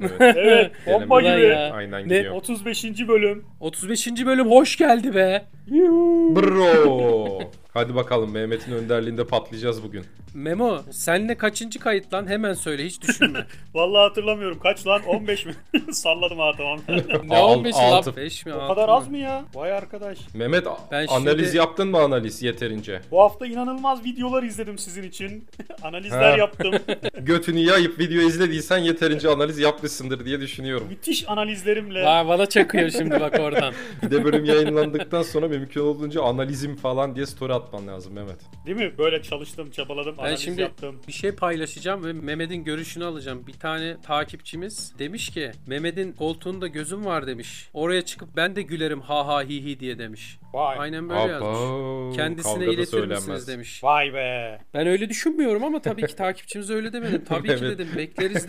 Evet. Evet, Gelemedim. bomba Ulan gibi. ya. Aynen Ne? gidiyor. 35. bölüm. 35. bölüm hoş geldi be. Yuhuu. Bro. Hadi bakalım Mehmet'in önderliğinde patlayacağız bugün. Memo senle kaçıncı kayıt lan hemen söyle hiç düşünme. Vallahi hatırlamıyorum. Kaç lan? 15 mi? Salladım ha tamam. ne 15 lan? altı. 5 mi? o altı kadar mı? az mı ya? Vay arkadaş. Mehmet Ben analiz şimdi- yaptın mı analiz yeterince? Bu hafta inanılmaz videolar izledim sizin için. Analizler Ha. yaptım. Götünü yayıp video izlediysen yeterince analiz yapmışsındır diye düşünüyorum. Müthiş analizlerimle. Vay bana çakıyor şimdi bak oradan. Bir de bölüm yayınlandıktan sonra mümkün olduğunca analizim falan diye story atman lazım Mehmet. Değil mi? Böyle çalıştım, çabaladım, Ben analiz şimdi- yaptım. Bir şey paylaşacağım ve Mehmet'in görüşünü alacağım. Bir tane takipçimiz demiş ki Mehmet'in koltuğunda gözüm var demiş. Oraya çıkıp ben de gülerim ha ha hi hi diye demiş. Vay. Aynen böyle yazmış. Abo, kavga Kendisine da iletir misiniz söylenmez. demiş. Vay be. Ben öyle düşünmüyorum ama tabii ki takipçimiz öyle demedim. Tabii ki Evet. dedim bekleriz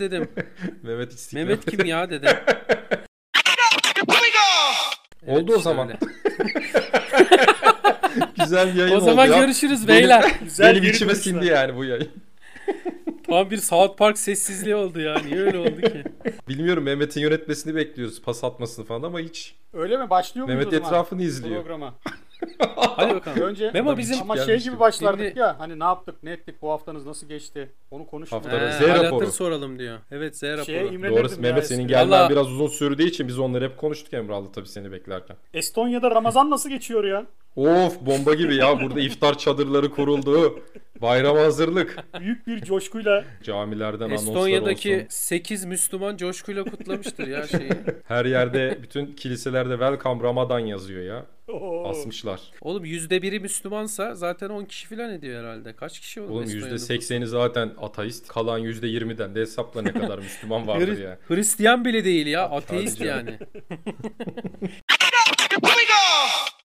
dedim. Mehmet istiklal. Mehmet kim ya dedim. Evet, Oldu o işte zaman. öyle. Güzel bir yayın O oldu zaman ya. görüşürüz Benim- beyler. Güzel Benim geri içime dönüşler. sindi yani bu yayın. Tam bir South Park sessizliği oldu ya. Niye öyle oldu ki? Bilmiyorum Mehmet'in yönetmesini bekliyoruz. Pas atmasını falan ama hiç. Öyle mi? Başlıyor muyuz Mehmet o zaman? etrafını izliyor. Programa. Hadi bakalım. Önce Memo bizim ama şey gelmişti. gibi başlardık Şimdi- ya. Hani ne yaptık, ne ettik, bu haftanız nasıl geçti? Onu konuştuk. Haftanın He, Z hal hatır raporu. Ee, Şey, soralım diyor. Evet Z raporu. Şeye imrenirdim Doğrusu ya Mehmet eskiden. senin gelmen Vallahi- biraz uzun sürdüğü için biz onları hep konuştuk Emrah'la tabii seni beklerken. Estonya'da Ramazan nasıl geçiyor ya? Of bomba gibi ya burada iftar çadırları kuruldu. Bayram hazırlık. Büyük bir coşkuyla Camilerden anonslar Estonya'daki olsun. 8 Müslüman coşkuyla kutlamıştır ya şeyi. Her yerde bütün kiliselerde welcome Ramadan yazıyor ya. Oo. Asmışlar. Oğlum %1'i Müslümansa zaten 10 kişi falan ediyor herhalde. Kaç kişi oğlum, Oğlum Estonya'nın %80'i zaten ateist. Kalan %20'den de hesapla ne kadar Müslüman vardır Hri- ya. Hristiyan bile değil ya. Ateist hadi canım. yani.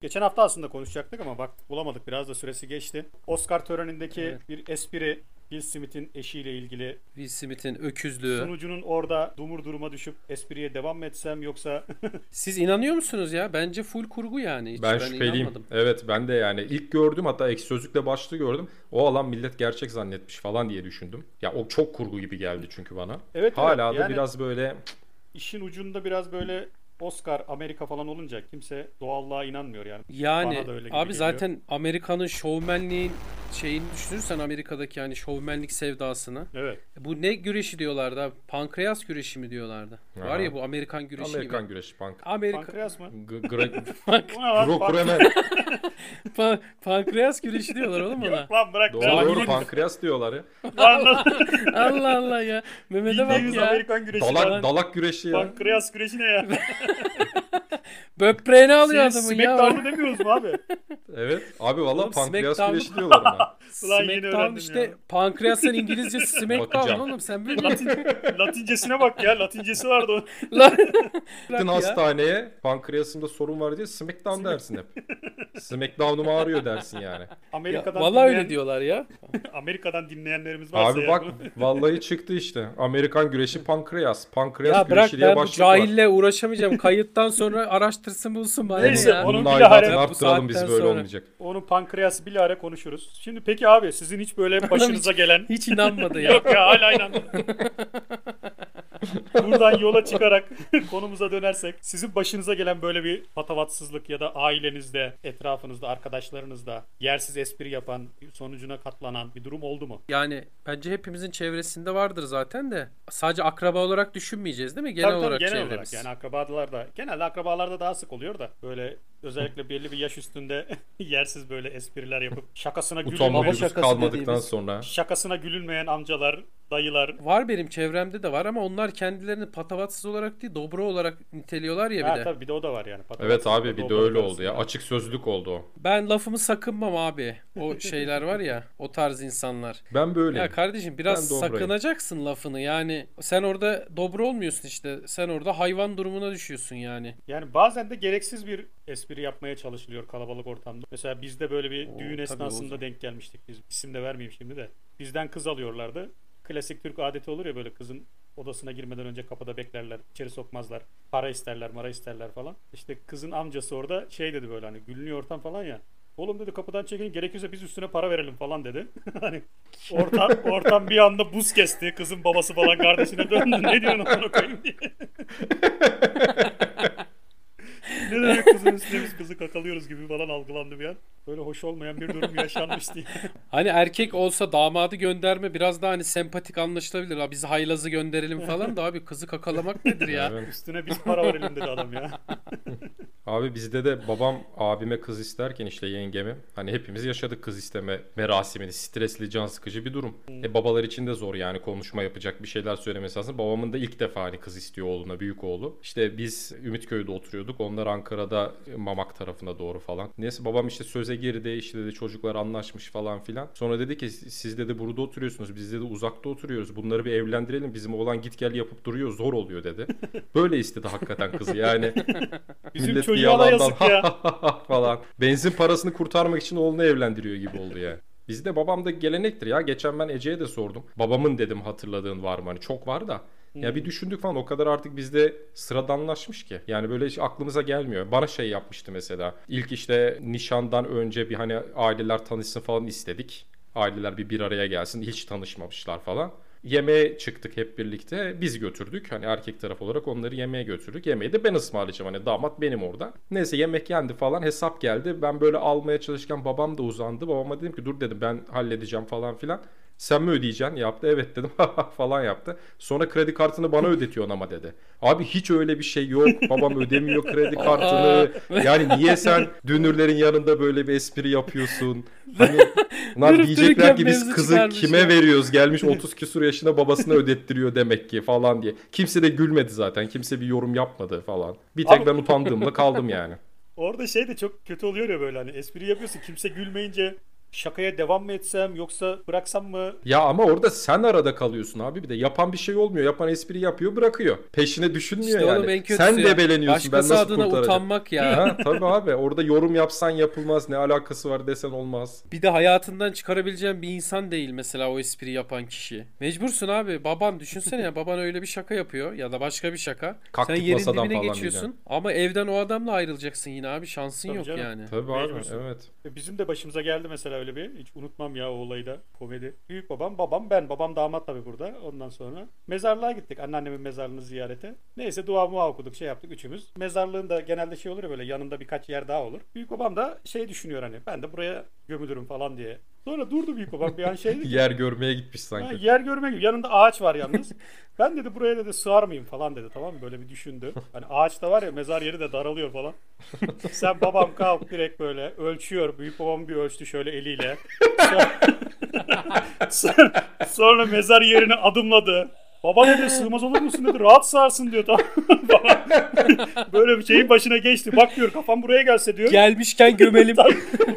Geçen hafta aslında konuşacaktık ama bak bulamadık biraz da süresi geçti. Oscar törenindeki Evet. bir espri Bill Smith'in eşiyle ilgili Will Smith'in öküzlüğü. sunucunun orada dumur duruma düşüp espriye devam mı etsem yoksa Siz inanıyor musunuz ya? Bence full kurgu yani. Hiç Ben, şüpheliyim. inanmadım. Evet ben de yani ilk gördüm hatta ek sözlükle başlığı gördüm. O alan millet gerçek zannetmiş falan diye düşündüm. Ya o çok kurgu gibi geldi çünkü bana. Evet, Hala evet. da Yani- biraz böyle işin ucunda biraz böyle Oscar Amerika falan olunca kimse doğallığa inanmıyor yani. Yani Bana da öyle gibi abi geliyor. zaten Amerika'nın şovmenliğin şeyini düşünürsen Amerika'daki yani şovmenlik sevdasını. Evet. Bu ne güreşi diyorlardı abi? Pankreas güreşi mi diyorlardı? Aha. Var ya bu Amerikan güreşi Amerikan şey gibi. güreşi bank. Amerika Pankreas mı? G- Greg Bu ne lan? Grok Pank- Bremen. Pa- pankreas güreşi diyorlar oğlum ona. Lan bırak. Doğru lan. doğru Yine- pankreas diyorlar ya. Lan Allah Allah ya. Mehmet'e bak bildiğimiz ya. Amerikan güreşi. Dalak lan. dalak güreşi ya. Pankreas güreşi ne ya? Böbreğini alıyor Siz adamın ya. Smackdown'u demiyoruz mu abi? Evet. Abi valla Oğlum, pankreas Smackdown- güreşi diyorlar ona. Ulan yeni Smackdown öğrendim işte ya. pankreasın İngilizcesi Smackdown Bakacağım. oğlum sen bilmiyorsun. Latincesine bak ya. Latincesi vardı o. Lan. Gittin Bırak ya. hastaneye pankreasımda sorun var diye smackdown dersin hep. Smackdown'um ağrıyor dersin yani. Ya, Amerika'dan vallahi dinleyen- öyle diyorlar ya. Amerika'dan dinleyenlerimiz varsa Abi eğer bak bu- vallahi çıktı işte. Amerikan güreşi pankreas. Pankreas Ya bırak güreşi diye ben bu başlık var. cahille uğraşamayacağım. Kayıttan sonra araştırsın bulsun bana Neyse, ya. onu- Bunun Onun bile aidatını hare- arttıralım Bu biz saatten böyle sonra. olmayacak. onun pankreası bilahare konuşuruz. Şimdi peki abi sizin hiç böyle başınıza gelen Hiç inanmadı ya. Yok ya hala aynen. Buradan yola çıkarak konumuza dönersek sizin başınıza gelen böyle bir patavatsızlık ya da ailenizde, etrafınızda, arkadaşlarınızda yersiz espri yapan, sonucuna katlanan bir durum oldu mu? Yani bence hepimizin çevresinde vardır zaten de. Sadece akraba olarak düşünmeyeceğiz değil mi? Genel Tabii tabii, olarak genel olarak çevremiz. yani akrabalarda genelde akrabalarda daha sık oluyor da böyle özellikle belli bir yaş üstünde yersiz böyle espriler yapıp şakasına Utanma baba gülünmeyen, duygusu şakası kalmadıktan dediğimiz- sonra. şakasına gülünmeyen amcalar, dayılar. Var benim çevremde de var ama onlar kendilerini patavatsız olarak değil dobro olarak niteliyorlar ya bir Ha, de. tabii bir de o da var yani. Evet abi bir de Patavatsızlıkla öyle doğru oldu ya. Açık sözlük oldu o. Ben lafımı sakınmam abi. O şeyler var ya o tarz insanlar. Ben Ya böyleyim. kardeşim biraz Ben dobrayım. sakınacaksın lafını yani sen orada dobro olmuyorsun işte sen orada hayvan durumuna düşüyorsun yani. Yani bazen de gereksiz bir espri yapmaya çalışılıyor kalabalık ortamda. Mesela bizde böyle bir düğün tabii esnasında olacak. denk gelmiştik biz. İsim de vermeyeyim şimdi de. Bizden kız alıyorlardı. Klasik Türk adeti olur ya böyle kızın odasına girmeden önce kapıda beklerler. içeri sokmazlar. Para isterler, mara isterler falan. İşte kızın amcası orada şey dedi böyle hani gülünüyor ortam falan ya. Oğlum dedi kapıdan çekilin gerekirse biz üstüne para verelim falan dedi. hani ortam, ortam bir anda buz kesti. Kızın babası falan kardeşine döndü. Ne diyorsun onu koyayım diye. ne demek kızın üstüne biz kızı kakalıyoruz gibi falan algılandı bir an. Böyle hoş olmayan bir durum yaşanmış diye. Hani erkek olsa damadı gönderme biraz daha hani sempatik anlaşılabilir. Abi biz haylazı gönderelim falan da abi kızı kakalamak nedir ya? Evet. Üstüne biz para verelim dedi adam ya. Abi bizde de babam abime kız isterken işte yengemi hani hepimiz yaşadık kız isteme merasimini stresli can sıkıcı bir durum. E babalar için de zor yani konuşma yapacak bir şeyler söylemesi lazım. Babamın da ilk defa hani kız istiyor oğluna büyük oğlu. İşte biz Ümitköy'de oturuyorduk onlar Ankara'da e, Mamak tarafına doğru falan. Neyse babam işte söze girdi işte dedi çocuklar anlaşmış falan filan. Sonra dedi ki siz dedi burada oturuyorsunuz biz dedi uzakta oturuyoruz bunları bir evlendirelim bizim oğlan git gel yapıp duruyor zor oluyor dedi. Böyle istedi hakikaten kızı yani. Bizim Millet bir çocuğa da yalandan yazık ya. falan. Benzin parasını kurtarmak için oğlunu evlendiriyor gibi oldu yani. Bizde babamda gelenektir ya. Geçen ben Ece'ye de sordum. Babamın dedim hatırladığın var mı? Hani çok var da. Ya Hmm. bir düşündük falan o kadar artık bizde sıradanlaşmış ki. Yani böyle hiç aklımıza gelmiyor. Bana şey yapmıştı mesela. İlk işte nişandan önce bir hani aileler tanışsın falan istedik. Aileler bir bir araya gelsin. Hiç tanışmamışlar falan. Yemeğe çıktık hep birlikte. Biz götürdük. Hani erkek taraf olarak onları yemeğe götürdük. Yemeği de ben ısmarlayacağım. Hani damat benim orada. Neyse yemek yendi falan. Hesap geldi. Ben böyle almaya çalışırken babam da uzandı. Babama dedim ki dur dedim ben halledeceğim falan filan. Sen mi ödeyeceksin? Yaptı. Evet dedim. falan yaptı. Sonra kredi kartını bana ödetiyorsun ama dedi. Abi hiç öyle bir şey yok. Babam ödemiyor kredi kartını. Yani niye sen dünürlerin yanında böyle bir espri yapıyorsun? Hani lan Dürüp diyecekler dürüp ki biz mevzu kızı çıkarmış kime ya. veriyoruz? Gelmiş 30 küsur yaşına babasına ödettiriyor demek ki falan diye. Kimse de gülmedi zaten. Kimse bir yorum yapmadı falan. Bir tek Abi- ben utandığımla kaldım yani. Orada şey de çok kötü oluyor ya böyle hani espri yapıyorsun kimse gülmeyince şakaya devam mı etsem yoksa bıraksam mı? Ya ama orada sen arada kalıyorsun abi bir de yapan bir şey olmuyor. Yapan espri yapıyor, bırakıyor. Peşine düşünmüyor İşte oğlum en yani. kötüsü Sen ya. debeleniyorsun ben Başkası nasıl adına kurtaracağım? utanmak ya. Ha, tabii abi orada yorum yapsan yapılmaz. Ne alakası var desen olmaz. Bir de hayatından çıkarabileceğin bir insan değil mesela o espri yapan kişi. Mecbursun abi. Baban düşünsene ya baban öyle bir şaka yapıyor ya da başka bir şaka. Kalktık Sen yerin masadan dibine falan geçiyorsun diyeceğim. ama evden o adamla ayrılacaksın yine abi. Şansın Tabii yok canım. yani. Tabii abi Mecbursun. evet. E, Bizim de başımıza geldi mesela öyle bir hiç unutmam ya o olayı da komedi. Büyük babam babam ben babam damat tabii burada ondan sonra. Mezarlığa gittik anneannemin mezarlığını ziyarete. Neyse dua mua okuduk şey yaptık üçümüz. Mezarlığın da genelde şey olur ya böyle yanında birkaç yer daha olur. Büyük babam da şey düşünüyor hani ben de buraya gömülürüm falan diye. Sonra durdu büyük babam bir an şey dedi ki, Yer görmeye gitmiş Ha, sanki. yer görme gibi. Yanında ağaç var yalnız. ben dedi buraya dedi sığar mıyım falan dedi tamam mı? Böyle bir düşündü. Hani ağaç da var ya mezar yeri de daralıyor falan. Sen babam kalk direkt böyle ölçüyor. Büyük babam bir ölçtü şöyle eliyle. Sonra, sonra mezar yerine adımladı. Baba dedi sığmaz olur musun dedi. Rahat sığarsın diyor tamam mı? Baba böyle bir şeyin başına geçti. Bak diyor kafam buraya gelse diyor. Gelmişken gömelim.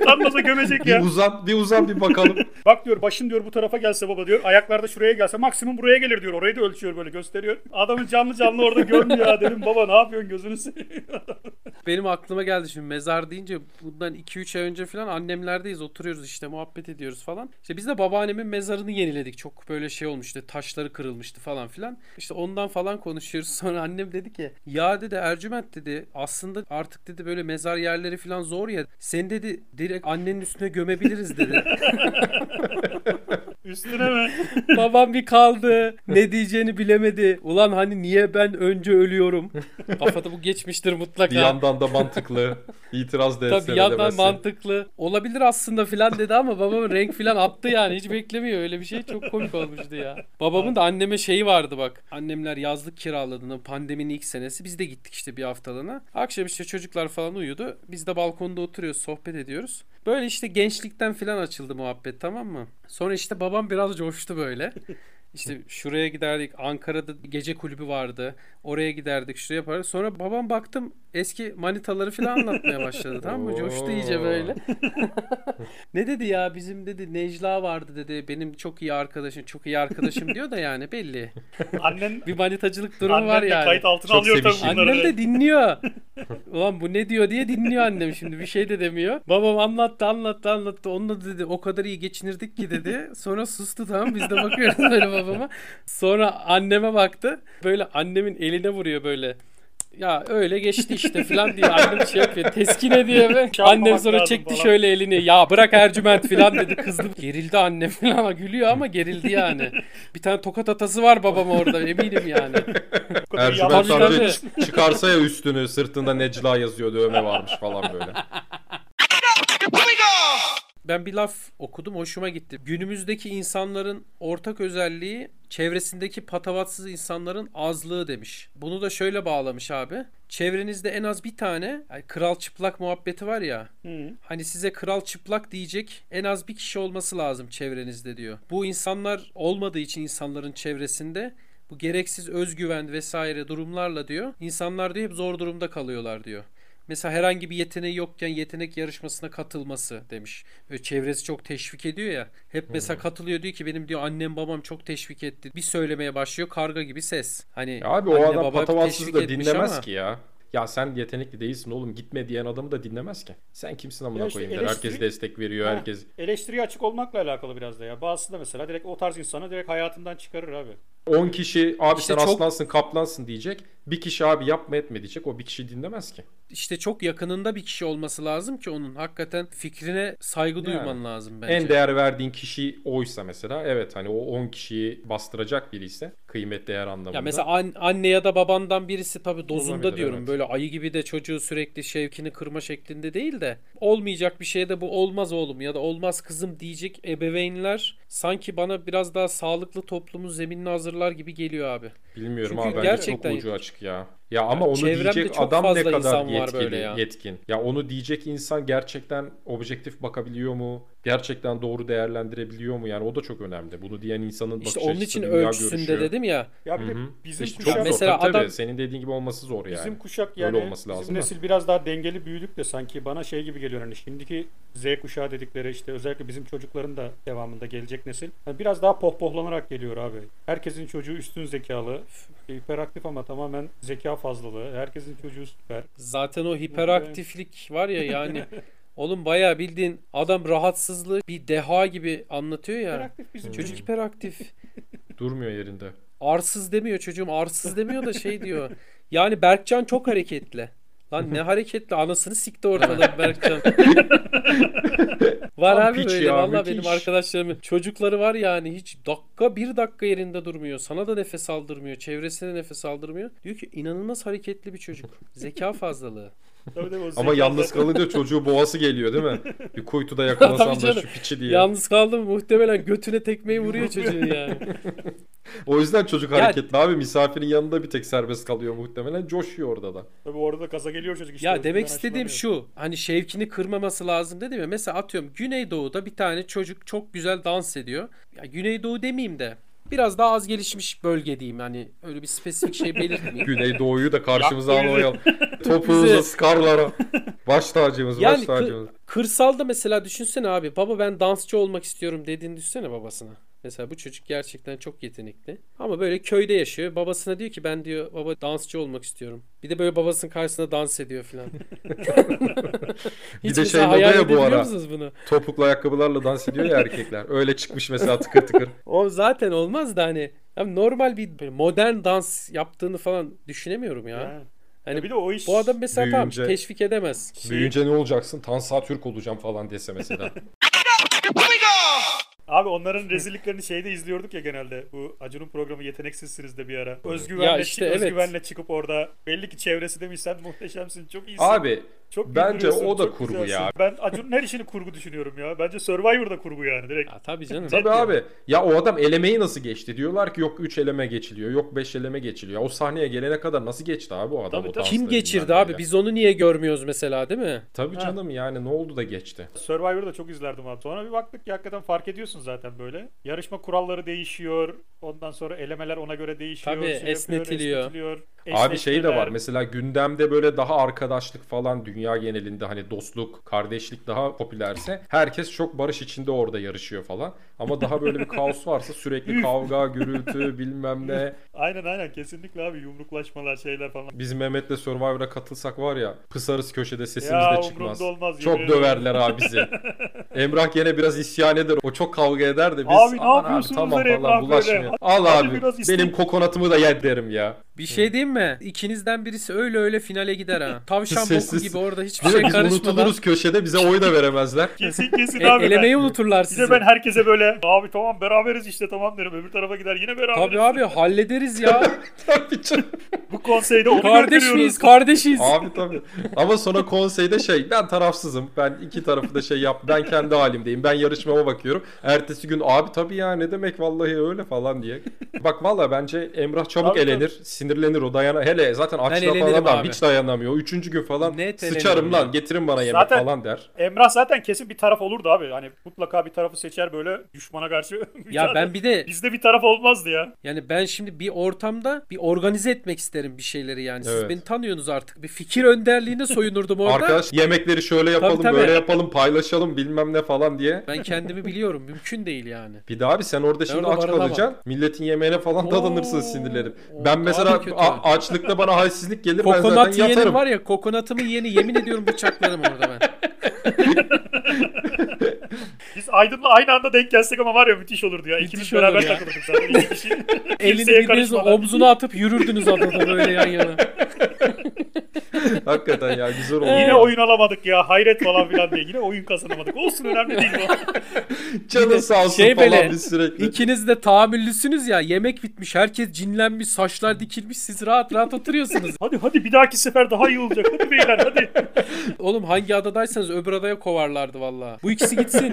Utanmasa gömecek ya. Bir uzan, bir uzan bir bakalım. Bak diyor başın diyor bu tarafa gelse baba diyor. Ayaklar da şuraya gelse maksimum buraya gelir diyor. Orayı da ölçüyor böyle gösteriyor. Adamı canlı canlı orada görmüyor ya dedim. Baba ne yapıyorsun gözünü seveyim. Benim aklıma geldi şimdi mezar deyince bundan 2-3 ay önce falan annemlerdeyiz oturuyoruz işte muhabbet ediyoruz falan. İşte biz de babaannemin mezarını yeniledik. Çok böyle şey olmuştu taşları kırılmıştı falan filan. İşte ondan falan konuşuyoruz. Sonra annem dedi ki ya dedi Ercüment dedi aslında artık dedi böyle mezar yerleri falan zor ya. Seni dedi direkt annenin üstüne gömebiliriz dedi. Üstüne mi? Babam bir kaldı. Ne diyeceğini bilemedi. Ulan hani niye ben önce ölüyorum? Kafada bu geçmiştir mutlaka. Bir yandan da mantıklı. İtiraz da etse Tabii de yandan demezsin. mantıklı. Olabilir aslında filan dedi ama babamın renk filan attı yani. Hiç beklemiyor öyle bir şey. Çok komik olmuştu ya. Babamın da anneme şeyi vardı bak. Annemler yazlık kiraladığında pandeminin ilk senesi biz de gittik işte bir haftalığına. Akşam işte çocuklar falan uyudu. Biz de balkonda oturuyoruz sohbet ediyoruz. Böyle işte gençlikten filan açıldı muhabbet tamam mı? Sonra işte babam biraz coştu böyle. İşte şuraya giderdik. Ankara'da gece kulübü vardı. Oraya giderdik. Şuraya yapardık. Sonra babam baktım eski manitaları falan anlatmaya başladı. tamam mı? Coştu iyice Oo. böyle. ne dedi ya bizim dedi Necla vardı dedi. Benim çok iyi arkadaşım. Çok iyi arkadaşım diyor da yani belli. Annen, Bir manitacılık durumu annen var de yani. kayıt altına Çok alıyor tabii sevişim. bunları. Annem de dinliyor. Ulan bu ne diyor diye dinliyor annem şimdi. Bir şey de demiyor. Babam anlattı anlattı anlattı. Onunla dedi o kadar iyi geçinirdik ki dedi. Sonra sustu tamam biz de bakıyoruz böyle babama. Sonra anneme baktı. Böyle annemin eline vuruyor böyle. ya öyle geçti işte falan diye annem şey yapıyor. Teskine diye mi? Çalmamak Annem sonra Şey lazım çekti falan. şöyle elini. Ya bırak Ercüment falan dedi. Kızdı. Gerildi annem falan. Gülüyor ama gerildi yani. Bir tane tokat atası var babam orada eminim yani. Bu kadar yalan- Ercüment Tabii, amca tabii. ç- çıkarsa ya üstünü sırtında Necla yazıyor dövme varmış falan böyle. Ben bir laf okudum hoşuma gitti. Günümüzdeki insanların ortak özelliği çevresindeki patavatsız insanların azlığı demiş. Bunu da şöyle bağlamış abi. Çevrenizde en az bir tane yani kral çıplak muhabbeti var ya. Hı. Hani size kral çıplak diyecek en az bir kişi olması lazım çevrenizde diyor. Bu insanlar olmadığı için insanların çevresinde bu gereksiz özgüven vesaire durumlarla diyor. İnsanlar diyor hep zor durumda kalıyorlar diyor. Mesela herhangi bir yeteneği yokken yetenek yarışmasına katılması demiş. Böyle çevresi çok teşvik ediyor ya. Hep mesela katılıyor diyor ki benim diyor annem babam çok teşvik etti. Bir söylemeye başlıyor karga gibi ses. Hani Ya Abi anne o baba adam patavatsız teşvik da etmiş dinlemez ama- ki ya. Ya sen yetenekli değilsin oğlum gitme diyen adamı da dinlemez ki. Sen kimsin Ya amına işte koyayım der. Herkes eleştiri- destek veriyor Ha. herkes. Eleştiriye açık olmakla alakalı biraz da ya. Bazısı da mesela direkt o tarz insanı direkt hayatından çıkarır abi. 10 kişi abi İşte sen çok- aslansın kaplansın diyecek. Bir kişi abi yapma etme diyecek. O bir kişi dinlemez ki. işte çok yakınında bir kişi olması lazım ki onun hakikaten fikrine saygı duyman lazım bence. En değer verdiğin kişi oysa mesela evet hani o 10 kişiyi bastıracak biri ise kıymet değer anlamında. ya mesela an- anne ya da babandan birisi tabii dozunda Olabilir, diyorum. evet. Böyle ayı gibi de çocuğu sürekli şevkini kırma şeklinde değil de olmayacak bir şeyde bu olmaz oğlum ya da olmaz kızım diyecek ebeveynler sanki bana biraz daha sağlıklı toplumun zeminini hazırlar gibi geliyor abi. Bilmiyorum Çünkü abi bence gerçekten- çok ucu açık ya. Ya ama onu çevremde diyecek çok adam ne fazla kadar insan var yetkili, böyle ya. yetkin. Ya onu diyecek insan gerçekten objektif bakabiliyor mu? Gerçekten doğru değerlendirebiliyor mu? Yani o da çok önemli. Bunu diyen insanın bakış işte onun açısı, için dünya ölçüsünde görüşü. dedim ya. Ya bir de Hı hı. bizim İşte çok kuşak zor. Mesela Tabii tabii. adam- Senin dediğin gibi olması zor yani. Bizim kuşak Öyle yani olması lazım bizim da. nesil biraz daha dengeli büyüdük de sanki bana şey gibi geliyor hani şimdiki Z kuşağı dedikleri işte özellikle bizim çocukların da devamında gelecek nesil. Hani biraz daha pohpohlanarak geliyor abi. Herkesin çocuğu üstün zekalı, hiperaktif ama tamamen zeka fazlalığı. Herkesin çocuğu süper. Zaten o hiperaktiflik var ya yani oğlum bayağı bildiğin adam rahatsızlığı bir deha gibi anlatıyor ya. Hiperaktif bizim çocuk. Çocuk hiperaktif. Durmuyor yerinde. Arsız demiyor çocuğum arsız demiyor da şey diyor. Yani Berkcan çok hareketli. Lan ne hareketli anasını sikti ortalığı Berkcan. var Tam abi piç böyle ya, valla müthiş. benim arkadaşlarımın çocukları var yani hiç dakika bir dakika yerinde durmuyor. Sana da nefes aldırmıyor çevresine nefes aldırmıyor. Diyor ki inanılmaz hareketli bir çocuk. Zeka fazlalığı. Tabii tabii o Ama zeka yalnız zaten- kalınca çocuğu boğası geliyor değil mi? Bir kuytuda Tabii yakalasam da canım. şu piçi diye. Yalnız kaldım muhtemelen götüne tekmeyi vuruyor çocuğun yani. O yüzden çocuk Ya- hareketli abi. Misafirin yanında bir tek serbest kalıyor muhtemelen. Coşuyor orada da. Tabii orada kaza geliyor çocuk işte. Ya özgüven demek istediğim aşılamıyor. şu. Hani şevkini kırmaması lazım dedim ya. Mesela atıyorum Güneydoğu'da bir tane çocuk çok güzel dans ediyor. Ya Güneydoğu demeyeyim de biraz daha az gelişmiş bölge diyeyim. Hani öyle bir spesifik şey belirtmeyeyim. Güneydoğu'yu da karşımıza Yaptı bizi. almayalım. Topuğumuza Bizi. sıkarlar. Baş tacımız, Yani baş kı- tacımız. kırsalda mesela düşünsene abi. Baba ben dansçı olmak istiyorum dediğini düşünsene babasına. Mesela bu çocuk gerçekten çok yetenekli. Ama böyle köyde yaşıyor. Babasına diyor ki ben diyor baba dansçı olmak istiyorum. Bir de böyle babasının karşısında dans ediyor filan. Bir Hiç de mesela şey moda hayal ya bu edebiliyor ara. musunuz bunu? Topuklu ayakkabılarla dans ediyor ya erkekler. Öyle çıkmış mesela tıkır tıkır. O zaten olmaz da hani ya normal bir böyle modern dans yaptığını falan düşünemiyorum ya. Yani. Hani Ya bir de o iş bu adam mesela tamam Büyüyünce- teşvik edemez. Şey- Büyüyünce ne olacaksın? Tansa Türk olacağım falan dese mesela. Abi onların rezilliklerini şeyde izliyorduk ya genelde. Bu Acun'un programı Yeteneksizsiniz de bir ara. Özgüvenle, Ya işte çık- evet. özgüvenle çıkıp orada belli ki çevresi demiş sen muhteşemsin çok iyisin. Abi çok bence güldürüyorsun, o da çok kurgu güzelsin." ya. Ben Acun'un her işini kurgu düşünüyorum ya. Bence Survivor'da kurgu yani direkt. Ya tabii canım. Tabii abi. Ya o adam elemeyi nasıl geçti? Diyorlar ki yok 3 eleme geçiliyor. Yok 5 eleme geçiliyor. Ya O sahneye gelene kadar nasıl geçti abi o adam Tabii, o tabii. dansları Kim geçirdi bilmem abi? neyle? Biz onu niye görmüyoruz mesela değil mi? Tabii Ha. canım yani ne oldu da geçti? Survivor'da çok izlerdim abi. Sonra bir baktık ki hakikaten fark ediyorsun zaten böyle. Yarışma kuralları değişiyor. Ondan sonra elemeler ona göre değişiyor. şey Tabii, yapıyor, esnetiliyor. esnetiliyor. Abi şey de Esnetmeler. var mesela gündemde böyle daha arkadaşlık falan dünya genelinde hani dostluk, kardeşlik daha popülerse herkes çok barış içinde orada yarışıyor falan. Ama daha böyle bir kaos varsa sürekli kavga, gürültü bilmem ne. Aynen aynen kesinlikle abi yumruklaşmalar şeyler falan. Biz Mehmet'le Survivor'a katılsak var ya pısarız köşede sesimiz Ya de umurumda çıkmaz. olmaz, çok yemin ederim. döverler abi bizi. Emrah gene biraz isyan eder. O çok kavga eder de biz Abi ne "Aman yapıyorsunuz tamam öyle falan Emrah böyle? bulaşmıyor. Al Hadi abi biraz isteyip- benim kokonatımı da yer derim ya. Bir şey diyeyim mi? İkinizden birisi öyle öyle finale gider ha. Tavşan boku Sessiz. gibi orada hiçbir Değil şey mi? Biz karışmadan. unutuluruz köşede bize oy da veremezler. Kesin kesin E, abi. elemeyi ben. unuturlar Bir sizi. de ben herkese böyle abi tamam beraberiz işte tamam derim. Öbür tarafa gider yine beraberiz. Tabii abi hallederiz ya. tabii canım. Bu konseyde onu Kardeş gönderiyoruz. miyiz? Kardeşiz. Abi tabii. Ama sonra konseyde şey ben tarafsızım. Ben iki tarafı da şey yap. Ben kendi halimdeyim. Ben yarışmama bakıyorum. Ertesi gün abi tabii ya ne demek vallahi öyle falan diye. Bak valla bence Emrah çabuk Tabii, elenir. Sinirlenir o dayana. Hele zaten açla falan elenirim adam abi. hiç dayanamıyor. Üçüncü gün falan Net elenirim sıçarım ya. lan getirin bana yemek Zaten- falan der. Emrah zaten kesin bir taraf olurdu abi. Hani mutlaka bir tarafı seçer böyle düşmana karşı. mücadele. Ya ben bir de Bizde bir taraf olmazdı ya. yani ben şimdi bir ortamda bir organize etmek isterim bir şeyleri yani. Siz Evet. beni tanıyorsunuz artık. Bir fikir önderliğine soyunurdum orada. Arkadaş yemekleri şöyle yapalım Tabii, tabii. böyle yapalım paylaşalım bilmem ne falan diye. Ben kendimi biliyorum. Mümkün değil yani. Bir de abi sen orada şimdi orada aç barınamam. kalacaksın. Milletin yemeğine falan dadanırsın Oo, sinirlenip. o Ben daha da mesela kötü. a- açlıkta bana halsizlik gelir ben Kokonat zaten yeni yatarım. var ya kokonatımı yeni yemin ediyorum bıçaklarım orada ben. Biz Aydın'la aynı anda denk gelsek ama var ya müthiş olurdu ya. Müthiş İkimiz olur beraber ya. takılırdık zaten. İki kişi. Elini Kimseye birbirinizin karışmadan. omzuna atıp yürürdünüz adada böyle yan yana. Hakikaten ya güzel oldu. Yine oyun alamadık ya. Hayret falan filan diye. Yine oyun kazanamadık. Olsun önemli değil bu. Canı sağ olsun şey falan böyle, biz sürekli. İkiniz de tahammüllüsünüz ya. Yemek bitmiş, herkes cinlenmiş, saçlar dikilmiş. Siz rahat rahat oturuyorsunuz. Hadi hadi bir dahaki sefer daha iyi olacak. Hadi beyler hadi. Oğlum hangi adadaysanız öbür adaya kovarlardı valla. Bu ikisi gitsin.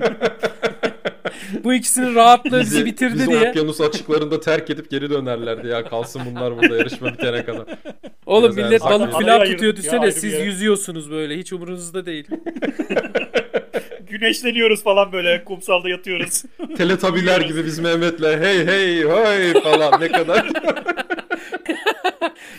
Bu ikisinin rahatlığı bizi, bitirdi bizi diye. okyanus açıklarında terk edip geri dönerlerdi ya. Kalsın bunlar burada yarışma bitene kadar. Oğlum Biraz millet erken balık ya. filan Adayı tutuyor ayırdık ya, ayrı düşsene. bir Siz yere. yüzüyorsunuz böyle. Hiç umurunuzda değil. Güneşleniyoruz falan böyle. Kumsalda yatıyoruz. Teletabiler gibi biz Mehmet'le hey hey hey falan ne kadar.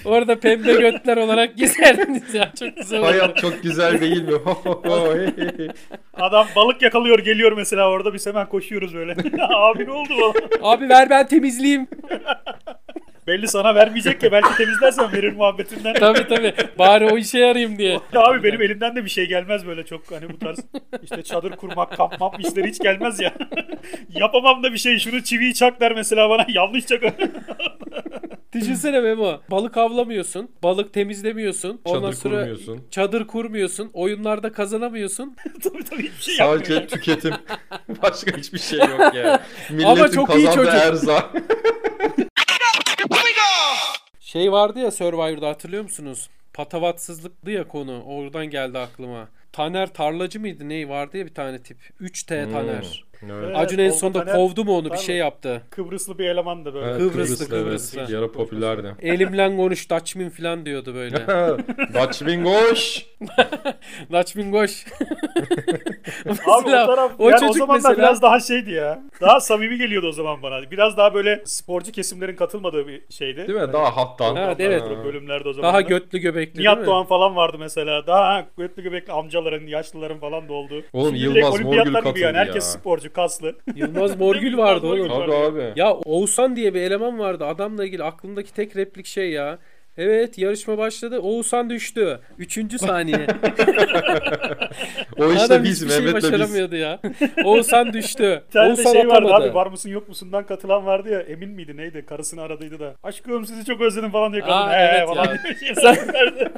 Orada pembe götler olarak gezerdiniz ya. Çok güzel olurdu. Hayat çok güzel değil mi? Ho, ho, ho, hey, hey. Adam balık yakalıyor geliyor mesela orada biz hemen koşuyoruz böyle. Abi ne oldu bana? Abi ver ben temizleyeyim. Belli sana vermeyecek ya belki temizlersen verir muhabbetinden. Tabii tabii. Bari o işe yarayayım diye. Ya Abi benim elimden de bir şey gelmez böyle çok hani bu tarz işte çadır kurmak, kamp map işleri hiç gelmez ya. Yapamam da bir şey şunu çiviyi çak der mesela bana yanlış çak. Düşünsene Memo. Balık avlamıyorsun. Balık temizlemiyorsun. Ondan Çadır sonra kurmuyorsun. Çadır kurmuyorsun. Oyunlarda kazanamıyorsun. tabii tabii hiçbir şey yapmıyor. Sadece tüketim. Başka hiçbir şey yok ya. Milletin çok iyi kazandığı çocuk. erzağı. Şey vardı ya Survivor'da hatırlıyor musunuz? Patavatsızlıktı ya konu. Oradan geldi aklıma. Taner Tarlacı mıydı? Ney vardı ya bir tane tip. 3T Hmm. Taner. Evet. Evet, Acun en oldu sonunda Taner. kovdu mu onu? Bir Tabii. şey yaptı. Kıbrıslı bir elemandı böyle. Evet, Kıbrıslı, evet. Kıbrıslı. Yara popülerdi. Elimle konuş Dutchman falan diyordu böyle. Dutchmingoş. Dutchman koş. Abi o Mesela taraf o yani o çocuk zamanlar mesela- biraz daha şeydi ya. Daha samimi geliyordu o zaman bana. Biraz daha böyle sporcu kesimlerin katılmadığı bir şeydi. Hani Değil mi? Daha hattan. Evet, evet. Ha. Bölümlerde o zaman. Daha götlü göbekli değil mi? Nihat Doğan falan vardı mesela. Daha ha, götlü göbekli amcaların, yaşlıların falan da oldu. Oğlum Şimdi Yılmaz direkt olimpiyatlar Morgül gibi yani. katıldı Herkes ya. sporcu, kaslı. Yılmaz Morgül vardı oğlum. Abi abi. Ya Oğuzhan diye bir eleman vardı. Adamla ilgili aklımdaki tek replik şey ya. Evet yarışma başladı. Oğuzhan düştü. Üçüncü saniye. O işte Adam biz hiçbir şey Mehmet'le biz. başaramıyordu ya. Oğuzhan düştü. Bir tane de Oğuzhan şey vardı atamadı. abi var mısın yok musundan katılan vardı ya emin miydi neydi karısını aradıydı da aşkım sizi çok özledim falan diye kadın Aa, he evet falan ya. diye şey verdi.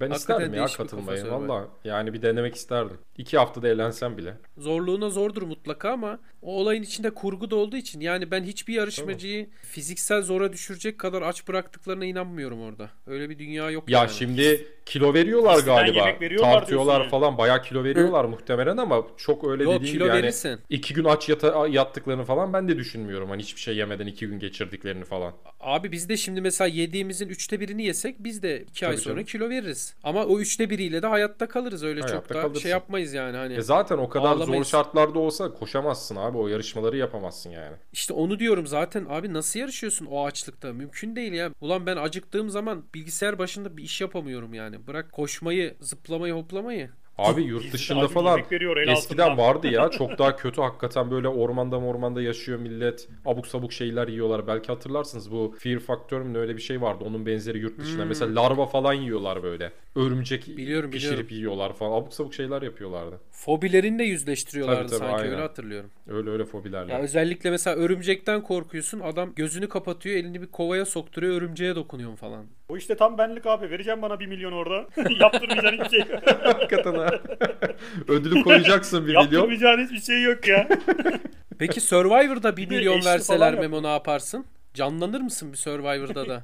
Ben Hakikaten isterdim ya değişik bir katılmayı. kafası var. Valla yani bir denemek isterdim. İki haftada eğlensem bile. Zorluğuna zordur mutlaka ama o olayın içinde kurgu da olduğu için yani ben hiçbir yarışmacıyı fiziksel zora düşürecek kadar aç bıraktıklarına inanmıyorum orada. Öyle bir dünya yok. Ya yani. şimdi kilo veriyorlar Eskiden galiba. yemek veriyorlar Tartıyorlar diyorsun falan. Bayağı kilo veriyorlar muhtemelen ama çok öyle Yok, dediğin kilo gibi yani. verirsin. İki gün aç yata- yattıklarını falan ben de düşünmüyorum. Hani hiçbir şey yemeden iki gün geçirdiklerini falan. Abi biz de şimdi mesela yediğimizin üçte birini yesek biz de iki ay Tabii sonra canım. kilo veririz. Ama o üçte biriyle de hayatta kalırız öyle çok Hayatta da kalırsın. şey yapmayız yani hani. E zaten o kadar zor Ağlamayız. şartlarda olsa koşamazsın abi. O yarışmaları yapamazsın yani. İşte onu diyorum zaten abi nasıl yarışıyorsun o açlıkta? Mümkün değil ya. Ulan ben acıktığım zaman bilgisayar başında bir iş yapamıyorum yani. Bırak koşmayı, zıplamayı, hoplamayı. Abi yurt dışında Abi falan yemek veriyor el eskiden altından. vardı ya çok daha kötü hakikaten böyle ormanda ormanda yaşıyor millet. Abuk sabuk şeyler yiyorlar. Belki hatırlarsınız bu Fear Factor mu ne öyle bir şey vardı. Onun benzeri yurt dışında Hmm. mesela larva falan yiyorlar böyle. Örümcek Biliyorum, pişirip biliyorum. yiyorlar falan. Abuk sabuk şeyler yapıyorlardı. Fobilerinle yüzleştiriyorlardı Tabii, tabii, sanki aynen. öyle hatırlıyorum. Öyle öyle fobilerle. Ya özellikle mesela örümcekten korkuyorsun. Adam gözünü kapatıyor, elini bir kovaya sokturuyor, örümceğe dokunuyorsun falan. O işte tam benlik abi. Vereceğim bana 1 milyon orada. Yaptırmayacağın hiçbir şey yok. Hakikaten ha. Ödülü koyacaksın bir milyon. Yaptırmayacağın hiçbir şey yok ya. Peki Survivor'da 1 Bir de milyon eşli verseler falan Memo ne yaparsın? Canlanır mısın bir Survivor'da da?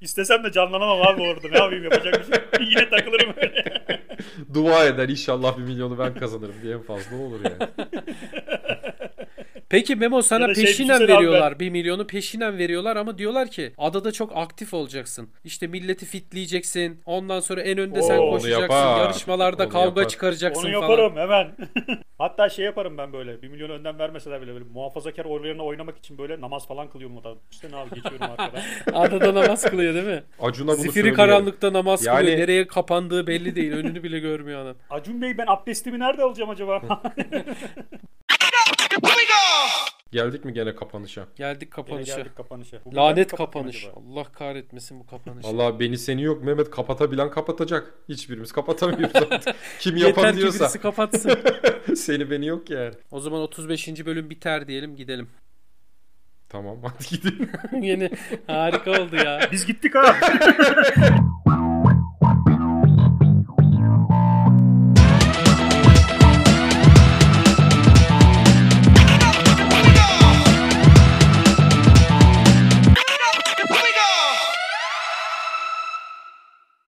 İstesem de canlanamam abi orada. Ne yapayım yapacak bir şey. Yine takılırım öyle. Dua eder inşallah bir milyonu ben kazanırım diye en fazla olur yani. Peki Memo Ya sana da şey, peşinen düşünsene abi veriyorlar. 1 milyonu peşinen veriyorlar ama diyorlar ki adada çok aktif olacaksın. İşte milleti fitleyeceksin. Ondan sonra en önde sen Oo, onu koşacaksın. yapar. Yarışmalarda Onu kavga yapar. çıkaracaksın Onu falan. yaparım hemen. Hatta şey yaparım ben böyle. 1 milyon önden vermeseler bile böyle muhafazakar oylarına oynamak için böyle namaz falan kılıyorum orada. İşte ne abi geçiyorum arkadan. Adada namaz kılıyor değil mi? Acuna bunu Sifiri söylüyorum. karanlıkta namaz Yani- kılıyor. Nereye kapandığı belli değil. Önünü bile görmüyor adam. Acun Bey ben abdestimi nerede alacağım acaba? Geldik mi gene kapanışa? Geldik Yine kapanışa. geldik kapanışa. Bugün ben mi Lanet kapatayım kapanış. acaba? Allah kahretmesin bu kapanışı. Valla beni seni yok Mehmet kapatabilen kapatacak. Hiçbirimiz kapatamıyoruz artık. Kim Yeter yapan ki diyorsa birisi kapatsın. seni beni yok yani. o zaman 35. bölüm biter diyelim gidelim. Tamam hadi gidelim. Yeni harika oldu ya. Biz gittik ha.